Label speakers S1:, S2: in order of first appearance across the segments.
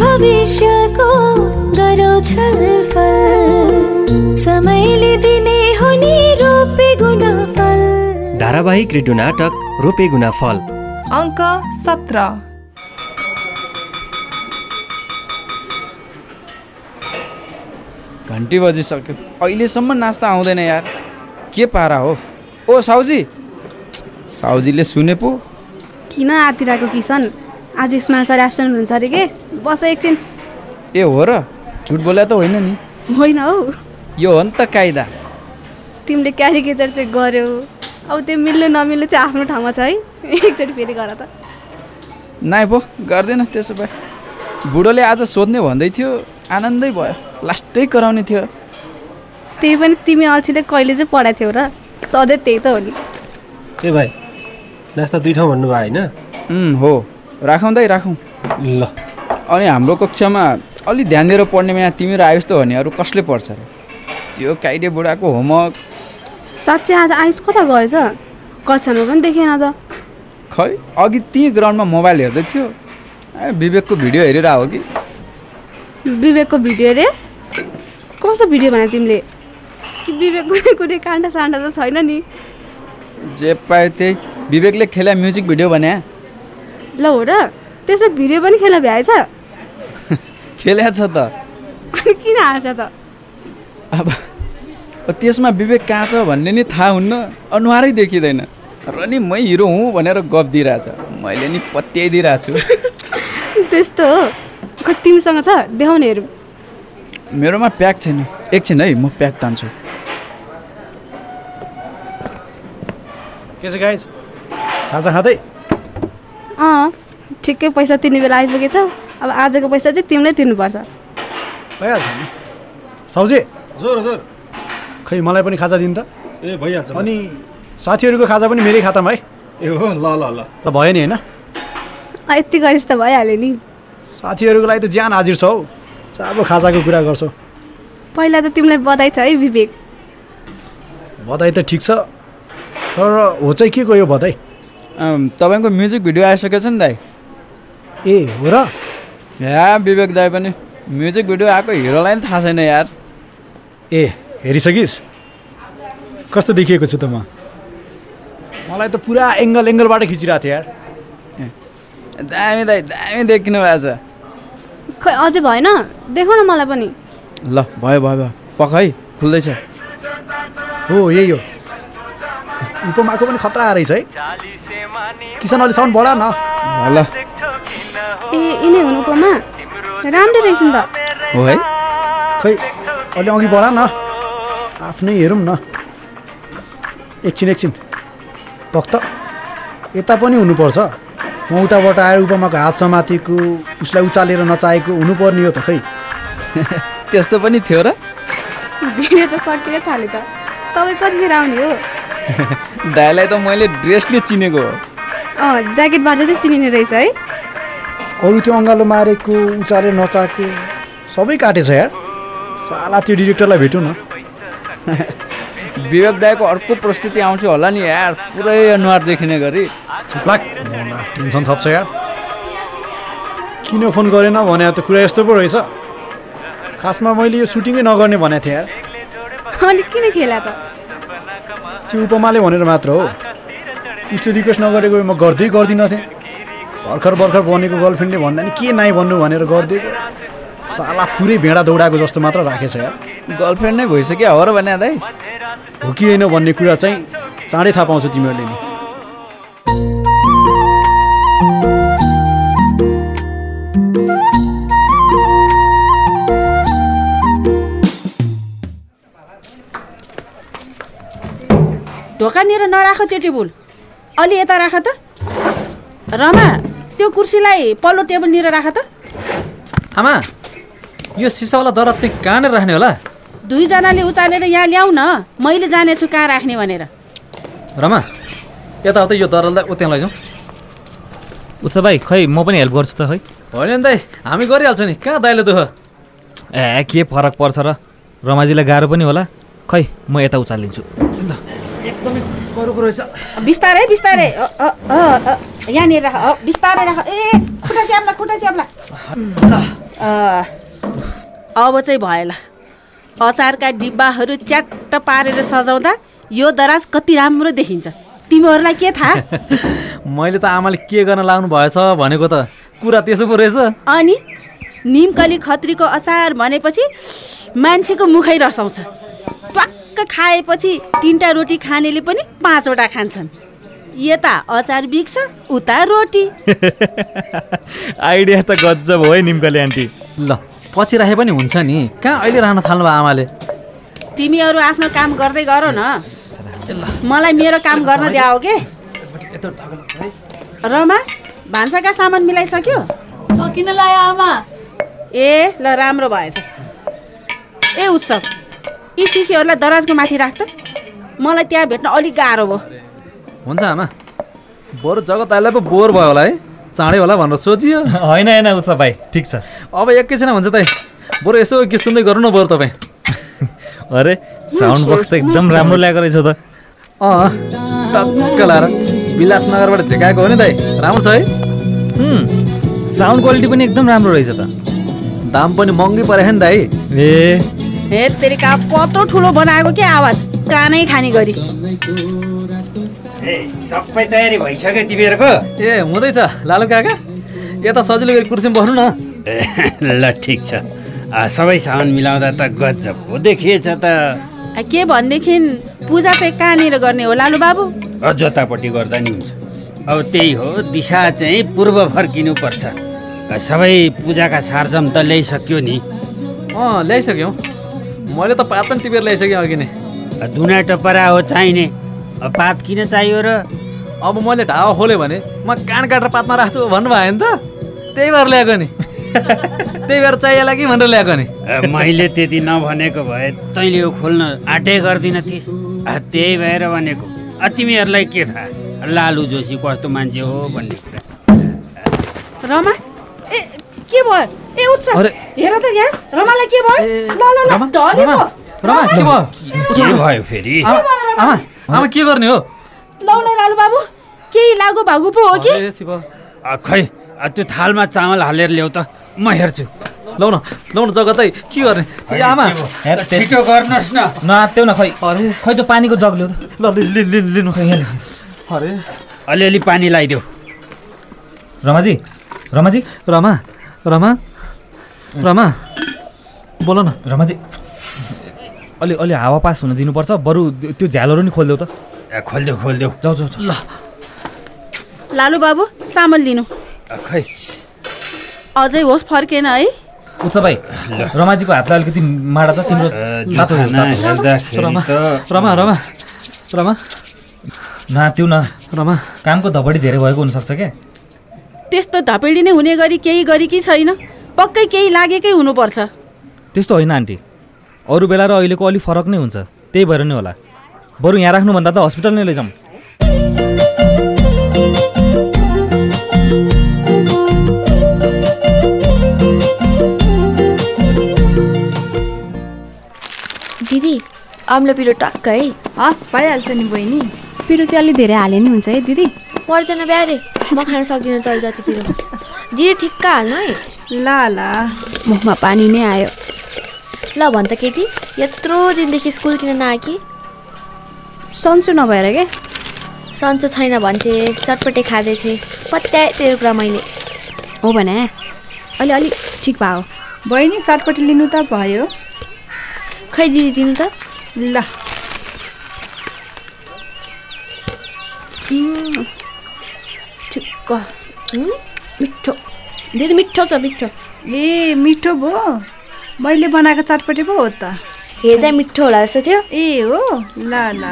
S1: भविष्यको गरौ छलफल समयले दिने हुने रोपे गुणफल
S2: धारावाहिक रेडियो नाटक रोपे गुनाफल
S3: अङ्क सत्र
S4: घन्टी बजिसक्यो अहिलेसम्म नास्ता आउँदैन यार के पारा हो ओ साउजी साउजीले सुने पो
S5: किन आतिरको किसन आज इस्माल सर एब्सेन्ट हुनुहुन्छ अरे के बस एकछिन
S4: ए हो र झुट बोल्या त होइन नि
S5: होइन हौ
S4: यो हो नि त कायदा
S5: तिमीले क्यारिकेचर चाहिँ गऱ्यौ अब त्यो मिल्ने नमिल्ने चाहिँ आफ्नो ठाउँमा छ है एकचोटि फेरि गर त
S4: नाइ पो गर्दैन त्यसो भए बुढोले आज सोध्ने भन्दै थियो आनन्दै भयो लास्टै कराउने थियो
S5: त्यही पनि तिमी अल्छीले कहिले चाहिँ पढाएको थियौ र सधैँ त्यही त हो नि
S6: ए भाइ नास्ता दुई ठाउँ भन्नुभयो होइन
S4: उम्, हो राखौँ दाइ राखौँ
S6: ल
S4: अनि हाम्रो कक्षामा अलि ध्यान दिएर पढ्ने बेला तिमीहरू आयुष त भने अरू कसले पढ्छ र त्यो काइडे बुढाको होमवर्क
S5: साँच्चै आज आयुष कता गएछ कक्षामा पनि देखेन त
S4: खै अघि त्यहीँ ग्राउन्डमा मोबाइल हेर्दै थियो ए विवेकको भिडियो हेरिरह हो कि
S5: विवेकको भिडियो अरे कस्तो भिडियो भने तिमीले कि विवेक कुनै कुनै काण्ड साण्ड त छैन नि
S4: जे पायो त्यही विवेकले खेला म्युजिक भिडियो भने
S5: ल हो र त्यस्तो भिडियो पनि खेल्न भ्याएछ
S4: खेल्या छ त
S5: अनि किन आएछ त
S4: अब त्यसमा विवेक कहाँ छ भन्ने नि थाहा हुन्न अनुहारै देखिँदैन र नि मै हिरो हुँ भनेर गफ दिइरहेछ मैले नि पत्याइदिइरहेको छु
S5: त्यस्तो हो खै तिमीसँग छ देखाउनेहरू
S4: मेरोमा प्याक छैन एकछिन है म प्याक तान्छु
S6: के छ गाइज खाजा खाँदै
S5: अँ ठिकै पैसा तिर्ने बेला आइपुगेछौ अब आजको पैसा चाहिँ तिमीले तिर्नुपर्छ
S6: भइहाल्छ नि साउजे जोर जोर खै मलाई पनि खाजा दिनु त ए भइहाल्छ अनि साथीहरूको खाजा पनि मेरै खातामा है ए हो ल ल ल त भयो नि होइन
S5: अँ, यति गरिस् त भइहाल्यो नि
S6: साथीहरूको लागि त ज्यान हाजिर छ हौ चाबो खाजाको कुरा गर्छौ
S5: पहिला त तिमीलाई बधाई छ है विवेक
S6: बधाई त ठिक छ तर हो चाहिँ के को यो बधाई
S4: अम्, तपाईँको म्युजिक भिडियो आइसकेको छ नि दाइ
S6: ए हो र
S4: या विवेक दाइ पनि म्युजिक भिडियो आएको हिरोलाई नि थाहा छैन यार
S6: ए हेरिसकिस् कस्तो देखिएको छु त म मलाई त पुरा एङ्गल एङ्गलबाट खिचिरहेको थियो यार
S4: दामी दाइ दामी देखिनु भएको छ
S5: खै अझै भएन देखाउ न मलाई पनि
S4: ल भयो भयो भयो पख है खुल्दैछ
S6: हो यही हो उपमाको पनि खतरा रहेछ है किसान अलि साउन्ड बढा न
S4: ल
S5: ए यिनै हुनु उपमा राम्रो रहेछ नि त
S4: हो है
S6: खै अलि अघि बढा न आफ्नै हेरौँ न एकछिन एकछिन भक्त यता पनि हुनुपर्छ म उताबाट आएर उपमाको हात समातेको उसलाई उचालेर नचाहेको हुनुपर्ने हो त खै
S4: त्यस्तो पनि थियो र
S5: भिडियो त सकिन थाल्यो त तपाईँ कतिखेर आउने हो
S4: दाइलाई त मैले ड्रेसले चिनेको हो
S5: अँ ज्याकेटबाट चाहिँ चिनिने रहेछ है
S6: अरू त्यो अँगालो मारेको उचालेर नचाएको सबै काटेछ यार साला त्यो डिरेक्टरलाई भेटौँ न
S4: विवेक दाईको अर्को प्रस्तुति आउँछ होला नि यार पुरै अनुहार देखिने गरी
S6: चुप लाग मर्दा, टेन्सन थप्छ यार किन फोन गरेन भने त कुरा यस्तो पो रहेछ खासमा मैले यो सुटिङै नगर्ने भनेको थिएँ यार
S5: अनि किन खेला त
S6: त्यो उपमाले भनेर मात्र हो उसले रिक्वेस्ट नगरेको भए म गर्दै गर्दिनँ थिएँ भर्खर भर्खर बनेको गर्लफ्रेन्डले भन्दा नि के नाइ भन्नु भनेर गर्दै गयो। साला पुरै भेडा दौडाएको जस्तो मात्र राखेछ यार
S4: गर्लफ्रेन्ड नै भइसक्यो हो र भने दाइ
S6: हो कि होइन भन्ने कुरा चाहिँ चाँडै थाहा पाउँछ तिमीहरूले नि
S7: ढोकानिर नराख त्यो टेबुल अलि यता राख त रमा त्यो कुर्सीलाई पल्लो टेबलनिर राख त
S8: आमा यो सिसावाला दराज चाहिँ कहाँनिर राख्ने होला
S7: दुईजनाले उचालेर यहाँ ल्याउ न मैले जानेछु कहाँ राख्ने भनेर
S8: रमा यताउता यो दराजलाई उत्यहाँ लैजाउँ
S9: उत्सव भाइ खै म पनि हेल्प गर्छु त खै
S8: होइन नि दाइ हामी गरिहाल्छौँ नि कहाँ दाइले दुःख
S9: ए के फरक पर्छ र रमाजीलाई गाह्रो पनि होला खै म यता उचालिदिन्छु
S7: बिस्तारै बिस्तारै अ, अ, अ, अ, यहाँनिर राख अ, बिस्तारै राख ए खुट्टा च्याप्ला खुट्टा च्याप्ला अँ, अब चाहिँ भएन अचारका डिब्बाहरू च्याट्ट पारेर सजाउँदा यो दराज कति राम्रो देखिन्छ तिमीहरूलाई के थाहा
S8: मैले त आमाले के गर्न लाग्नु भएछ भनेको त कुरा त्यसो पो रहेछ
S7: अनि निमकली खत्रीको अचार भनेपछि मान्छेको मुखै रसाउँछ ट्वाक्क खाएपछि तिनवटा रोटी खानेले पनि पाँचवटा खान्छन् यता अचार बिक्छ उता रोटी
S9: आइडिया त गजब हो है निम्कले आन्टी
S8: ल पछि राखे पनि हुन्छ नि कहाँ अहिले राख्न थाल्नुभयो आमाले
S7: तिमीहरू आफ्नो काम गर्दै गर न मलाई मेरो काम गर्न द्याओ के रमा भान्साका सामान मिलाइसक्यो
S10: सकिन लायो आमा
S7: ए ल राम्रो भएछ ए उत्सव यी सिसीहरूलाई दराजको माथि राख त मलाई त्यहाँ भेट्न अलिक गाह्रो भयो
S8: हुन्छ आमा बरु जगत आइलाई पो बोर भयो होला है चाँडै होला भनेर सोचियो
S9: होइन होइन उत्सव भाइ ठिक छ
S8: अब एकैछिन हुन्छ त बरु यसो के सुन्दै गर्नु न बरु तपाईँ
S9: अरे साउन्ड बक्स त एकदम राम्रो ल्याएको रहेछ त
S8: अँ टक्क लाएर विलास नगरबाट झिकाएको हो नि दाइ राम्रो छ है
S9: हुँ, साउन्ड क्वालिटी पनि एकदम राम्रो रहेछ त
S8: दाम पनि महँगै परेको नि दाइ
S9: ए
S7: हे तेरि का कत्रो ठुलो बनाएको के आवाज कानै खाने गरी
S2: सबै तयारी भइसक्यो तिमीहरूको
S8: ए हुँदैछ लालु काका यता सजिलो गरी कुर्सीमा बस्नु न
S2: ल ठिक छ आ, सबै सामान मिलाउँदा त गजबको देखिएछ त
S7: आ, के भनेदेखि पूजा चाहिँ कहाँनिर गर्ने हो लालु बाबु
S2: अ, जोतापट्टि गर्दा नि हुन्छ अब त्यही हो दिशा चाहिँ पूर्व फर्किनु पर्छ अ, सबै पूजाका सारजम त ल्याइसक्यो नि
S8: अँ ल्याइसक्यौँ मैले त पात पनि टिपेर ल्याइसकेँ अघि नै
S2: अ, दुना टपरा हो चाहिने अ, पात किन चाहियो र
S8: अब मैले ढावा खोल्यो भने म कान काटेर पातमा राख्छु भन्नुभयो नि त त्यही भएर ल्याएको नि त्यही भएर चाहिएला कि भनेर ल्याएको नि
S2: अ, मैले त्यति नभनेको भए तैँले यो खोल्न आँटै गर्दिन थिइस् अ, त्यही भएर भनेको अ, तिमीहरूलाई के थाहा लालु जोशी कस्तो मान्छे हो भन्ने कुरा
S7: रमा ए के भयो ए उत्सव
S8: अरे।
S7: हेर त यहाँ रमालाई के भयो
S8: ए,
S7: ल ल ल
S8: रमा,
S7: ढले
S8: रमा,
S7: पो।
S8: रमा, के भयो?
S2: के भयो फेरि
S8: आमा, आमा आमा के गर्ने हो
S7: लौ न लालु बाबु केही लागु भागु पो हो कि
S8: अरे शिव
S2: अ, खै अ, त्यो थालमा चामल हालेर ल्याउ त म हेर्छु
S8: लौ न लौ न जगतै के गर्ने ए आमा
S2: छिटो गर्नुहोस् न
S9: नआत्त्यौ न खै अरे खै त्यो पानीको जग ल्याउ त
S8: ल लि- लि- लि- लिनु खै यहाँ लेख्नु। अरे
S2: अलिअलि पानी लगाइदेऊ
S9: रमाजी रमाजी
S8: रमा रमा रमा बोल न
S9: रमाजी अलि अलि हावा पास हुन दिनुपर्छ बरु त्यो झ्यालोहरू नि खोलिदेऊ त
S2: अ, खोलिदेऊ खोलिदेऊ
S9: जाउ जाउ जाउ।
S7: लालु बाबु चामल दिनु
S2: अ, खै
S7: अझै होस् फर्केन है
S9: उत्स भाइ रमाजीको हातलाई अलिकति माडा त तिम्रो
S2: अ,
S9: तातो होस्,
S2: जोखाना
S9: तातो होस्।
S2: हेर्दाखेरि
S8: रमा
S2: त
S8: रमा रमा रमा
S9: नआत्त्यौ न
S8: रमा
S9: कामको धपडी धेरै भएको हुनसक्छ क्या
S7: त्यस्तो धपेडी नै हुने गरी केही गरेकी छैन पक्कै केही लागेकै हुनुपर्छ
S9: त्यस्तो होइन आन्टी अरू बेला र अहिलेको अलिक फरक नै हुन्छ त्यही भएर नै होला बरु यहाँ राख्नुभन्दा त हस्पिटल नै लैजाउँ
S11: दिदी अम्लो पिरो टक्क है
S3: हस् भइहाल्छ नि बहिनी
S10: पिरो चाहिँ अलि धेरै हाले नि हुन्छ है दिदी
S11: पर्दैन बिहारे म खान सक्दिनँ तल जति पिरो दिदी ठिक्क हाल्नु है
S3: ल ल
S10: मुखमा पानी नै आयो
S11: ल भन त केटी यत्रो दिनदेखि स्कुल किन नआएकी
S10: सन्चो नभएर के
S11: सन्चो छैन भन्थेस् चटपटे खाँदैथेस् पत्याए तेरो कुरा मैले
S10: हो भने अलि अलिक ठिक भयो
S3: बहिनी चटपटी लिनु त भयो
S11: खै दिदी दिनु त
S3: ल
S11: ठिक्क हुँ? मिठो दिदी मिठो छ मिठो
S3: ए मिठो भयो मैले बनाएको चटपटी पो हो त
S11: हेर्दा मिठो होला जस्तो थियो
S3: ए हो ल ल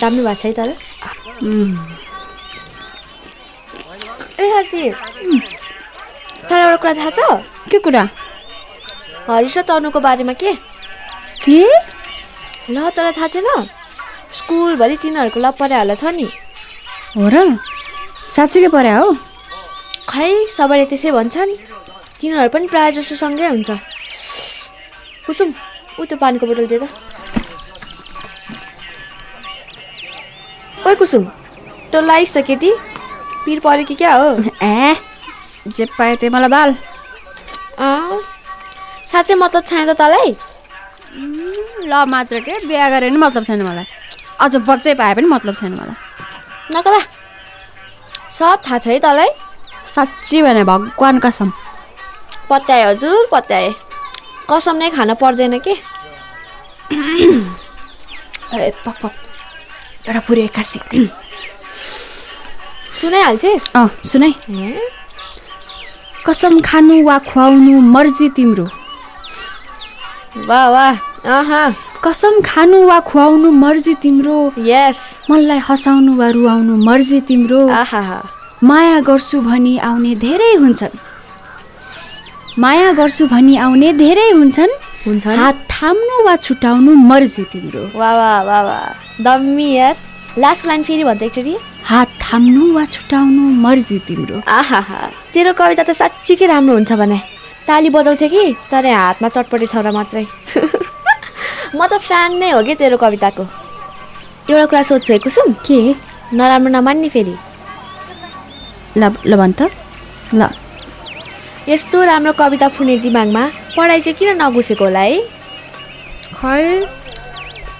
S11: दामी भएको छ है तर ए साँच्ची तर एउटा कुरा थाहा छ
S10: के कुरा
S11: हरिश र तनुको बारेमा के
S10: के
S11: ल तँलाई थाहा छैन स्कुलभरि तिनीहरूको लपराहरूलाई छ नि
S10: हो र साँच्चीकै पर्या हो
S11: खै सबैले त्यसै भन्छन् तिनीहरू पनि प्रायः जसो सँगै हुन्छ कुसुम ऊ त्यो पानीको बोतल दिए त ओइ कुसुम तँ लाइस त केटी पिर पऱ्यो कि क्या हो
S10: ए जे पायो त्यही मलाई बाल
S11: अँ साँच्चै मतलब छैन त तँलाई
S7: ल मात्र के बिहा गरे पनि मतलब छैन मलाई अझ बच्चै पाए पनि मतलब छैन मलाई
S11: नकला सब थाहा छ है तँलाई
S7: साँच्ची भने भगवान् कसम
S11: पत्याए हजुर पत्याए कसम नै खान पर्दैन कि ए, पक पक एउटा पुरै एक्कासी सुनाइहाल्छिस्
S7: अँ सुनै कसम खानु वा खुवाउनु मर्जी तिम्रो
S11: वाह वाह अहा
S7: कसम खानु वा खुवाउनु मर्जी तिम्रो
S11: यस
S7: मनलाई हँसाउनु वा रुवाउनु मर्जी तिम्रो
S11: आहा
S7: माया गर्छु भनी आउने धेरै हुन्छन् माया गर्छु भनी आउने धेरै हुन्छन्
S11: हुन्छन्?
S7: हात थाम्नु वा छुटाउनु मर्जी तिम्रो
S11: वाह वाह वाह वाह दम्मी यार लास्टको लाइन फेरि भन्दा एकचोटि
S7: हात थाम्नु वा छुटाउनु मर्जी तिम्रो
S11: आहा तेरो कविता त साँच्चीकै राम्रो हुन्छ भने ताली बजाउँथ्यो कि तर हातमा चटपटे छ र मात्रै म त फ्यान नै हो कि तेरो कविताको एउटा कुरा सोध्छु है कुसुम
S7: के
S11: नराम्रो नमान्ने फेरि
S7: ल ल भन त ल
S11: यस्तो राम्रो कविता फुट्ने दिमागमा पढाइ चाहिँ किन नघुसेको होला है
S7: खै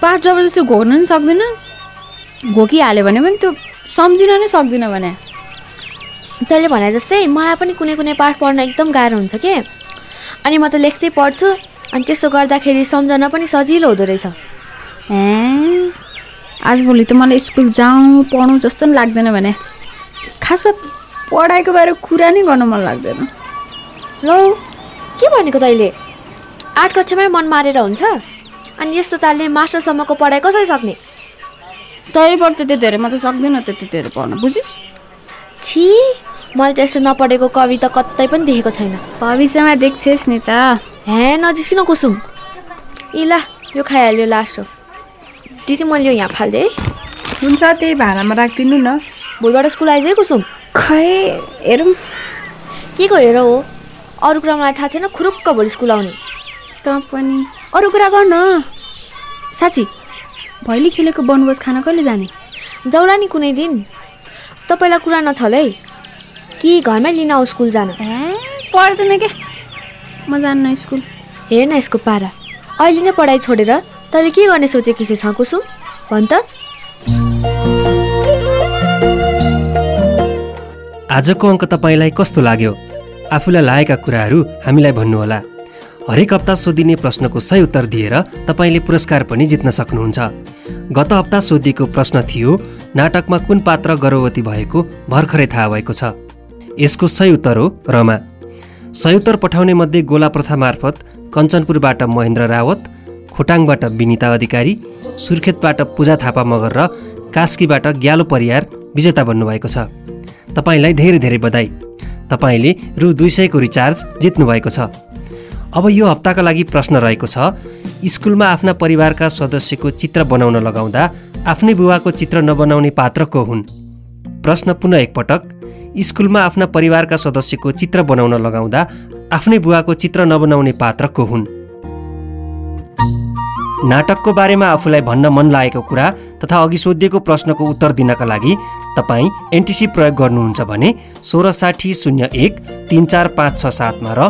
S7: पाठ जबरजस्ती घोक्न नि सक्दैन घोकिहाल्यो भने पनि त्यो सम्झिन नै सक्दिन भने
S11: तैँले भने जस्तै मलाई पनि कुनै कुनै पाठ पढ्न एकदम गाह्रो हुन्छ के अनि म त लेख्दै पढ्छु अनि त्यसो गर्दाखेरि सम्झन पनि सजिलो हुँदो रहेछ
S7: ए आजभोलि त मलाई स्कुल जाउँ पढौँ जस्तो नि लाग्दैन भने खासमा पढाइको बारे कुरा नै गर्न मन लाग्दैन
S11: लौ के भनेको तैँले आठ कक्षामै मन मारेर हुन्छ अनि यस्तो तालले मास्टरसम्मको पढाइ कसरी सक्ने
S7: तैबाट त त्यतिहरू म त सक्दिनँ त्यतिहरू पढ्न बुझिस्
S11: छि मैले त यस्तो नपढेको कविता कतै पनि देखेको छैन
S7: भविष्यमा देख्छेस् नि त
S11: हे नजिस्किन कुसुम यी ला यो खाइहाल्यो लास्ट हो दिदी मैले यो यहाँ फालिदिएँ है
S3: हुन्छ त्यही भाँडामा राखिदिनु न
S11: भोलिबाट स्कुल आइज है कुसुम
S7: खै हेरौँ
S11: के को हेर हो अरू कुरा मलाई थाहा छैन खुरुक्क भोलि स्कुल आउने
S7: त पनि अरू कुरा गर्न साँच्ची भैली खेलेको वनभोज खान कहिले जाने
S11: जाउला नि कुनै दिन तपाईँलाई कुरा नछल है कि घरमै लिन आऊ स्कुल जान
S7: ए पढ्दैन के म जान्न स्कुल
S11: हेर न यसको पारा अहिले नै पढाइ छोडेर तैँले के गर्ने सोचेकी छ कुसुम भन त
S12: आजको अङ्क तपाईँलाई कस्तो लाग्यो आफूलाई लागेका कुराहरू हामीलाई भन्नुहोला हरेक हप्ता सोधिने प्रश्नको सही उत्तर दिएर तपाईँले पुरस्कार पनि जित्न सक्नुहुन्छ गत हप्ता सोधिएको प्रश्न थियो नाटकमा कुन पात्र गर्भवती भएको भर्खरै थाहा भएको छ यसको सही उत्तर हो रमा सही उत्तर पठाउने मध्ये गोला प्रथा मार्फत कञ्चनपुरबाट महेन्द्र रावत खोटाङबाट विनिता अधिकारी सुर्खेतबाट पूजा थापा मगर र कास्कीबाट ग्यालो परियार विजेता बन्नुभएको छ तपाईँलाई धेरै धेरै बधाई तपाईँले रु दुई सयको रिचार्ज जित्नुभएको छ अब यो हप्ताका लागि प्रश्न रहेको छ स्कुलमा आफ्ना परिवारका सदस्यको चित्र बनाउन लगाउँदा आफ्नै बुवाको चित्र नबनाउने पात्र को हुन् प्रश्न पुनः एकपटक स्कुलमा आफ्ना परिवारका सदस्यको चित्र बनाउन लगाउँदा आफ्नै बुवाको चित्र नबनाउने पात्र को हुन् नाटकको बारेमा आफूलाई भन्न मन लागेको कुरा तथा अघि सोधिएको प्रश्नको उत्तर दिनका लागि तपाईँ एनटिसी प्रयोग गर्नुहुन्छ भने सोह्र साठी शून्य एक तिन चार पाँच छ सातमा र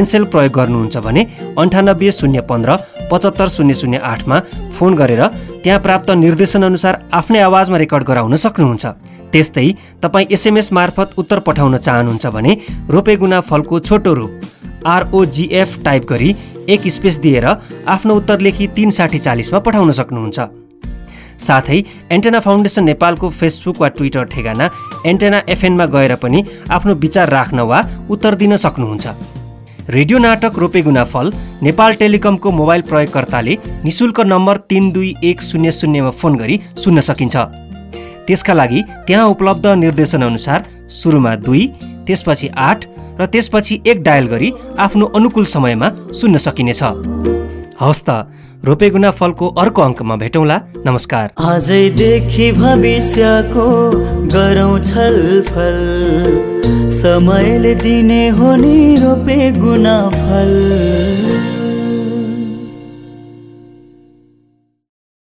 S12: एनसेल प्रयोग गर्नुहुन्छ भने अन्ठानब्बे शून्य पन्ध्र पचहत्तर शून्य शून्य आठमा फोन गरेर त्यहाँ प्राप्त निर्देशनअनुसार आफ्नै आवाजमा रेकर्ड गराउन सक्नुहुन्छ त्यस्तै तपाईँ एसएमएस मार्फत उत्तर पठाउन चाहनुहुन्छ भने रोपेगुना फलको छोटो रूप आरओजिएफ टाइप गरी एक स्पेस दिएर आफ्नो उत्तर लेखी तिन साठी चालिसमा पठाउन सक्नुहुन्छ साथै एन्टेना फाउन्डेसन नेपालको फेसबुक वा ट्विटर ठेगाना एन्टेना एफएनमा गएर पनि आफ्नो विचार राख्न वा उत्तर दिन सक्नुहुन्छ रेडियो नाटक रोपेगुना फल नेपाल टेलिकमको मोबाइल प्रयोगकर्ताले निशुल्क नम्बर तिन दुई एक शून्य शून्यमा फोन गरी सुन्न सकिन्छ त्यसका लागि त्यहाँ उपलब्ध निर्देशनअनुसार सुरुमा दुई त्यसपछि आठ र त्यसपछि एक डायल गरी आफ्नो अनुकूल समयमा सुन्न सकिनेछ हवस् त रोपेगुना फलको अर्को अङ्कमा भेटौँला नमस्कार
S13: आजैदेखि भविष्यको गरौँ छलफल समयले दिने हो नि रोपे गुना फल